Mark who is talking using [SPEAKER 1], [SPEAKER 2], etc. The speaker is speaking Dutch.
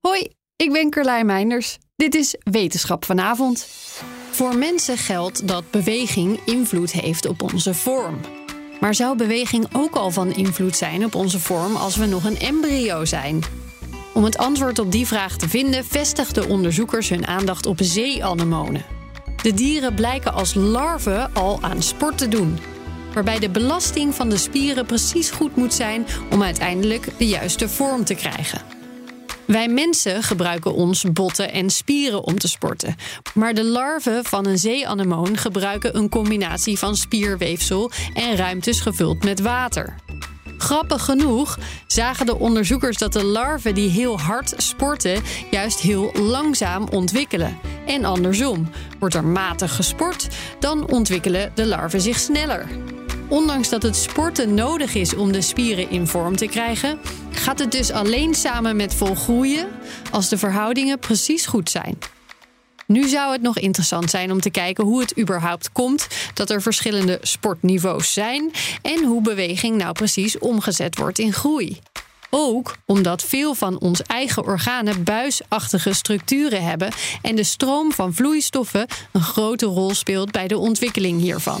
[SPEAKER 1] Hoi, ik ben Carlijn Meinders. Dit is Wetenschap vanavond. Voor mensen geldt dat beweging invloed heeft op onze vorm. Maar zou beweging ook al van invloed zijn op onze vorm als we nog een embryo zijn? Om het antwoord op die vraag te vinden, vestigden onderzoekers hun aandacht op zeeanemonen. De dieren blijken als larven al aan sport te doen, waarbij de belasting van de spieren precies goed moet zijn om uiteindelijk de juiste vorm te krijgen. Wij mensen gebruiken onze botten en spieren om te sporten. Maar de larven van een zeeanemoon gebruiken een combinatie van spierweefsel en ruimtes gevuld met water. Grappig genoeg zagen de onderzoekers dat de larven die heel hard sporten juist heel langzaam ontwikkelen. En andersom, wordt er matig gesport, dan ontwikkelen de larven zich sneller. Ondanks dat het sporten nodig is om de spieren in vorm te krijgen, gaat het dus alleen samen met volgroeien als de verhoudingen precies goed zijn. Nu zou het nog interessant zijn om te kijken hoe het überhaupt komt dat er verschillende sportniveaus zijn en hoe beweging nou precies omgezet wordt in groei. Ook omdat veel van ons eigen organen buisachtige structuren hebben en de stroom van vloeistoffen een grote rol speelt bij de ontwikkeling hiervan.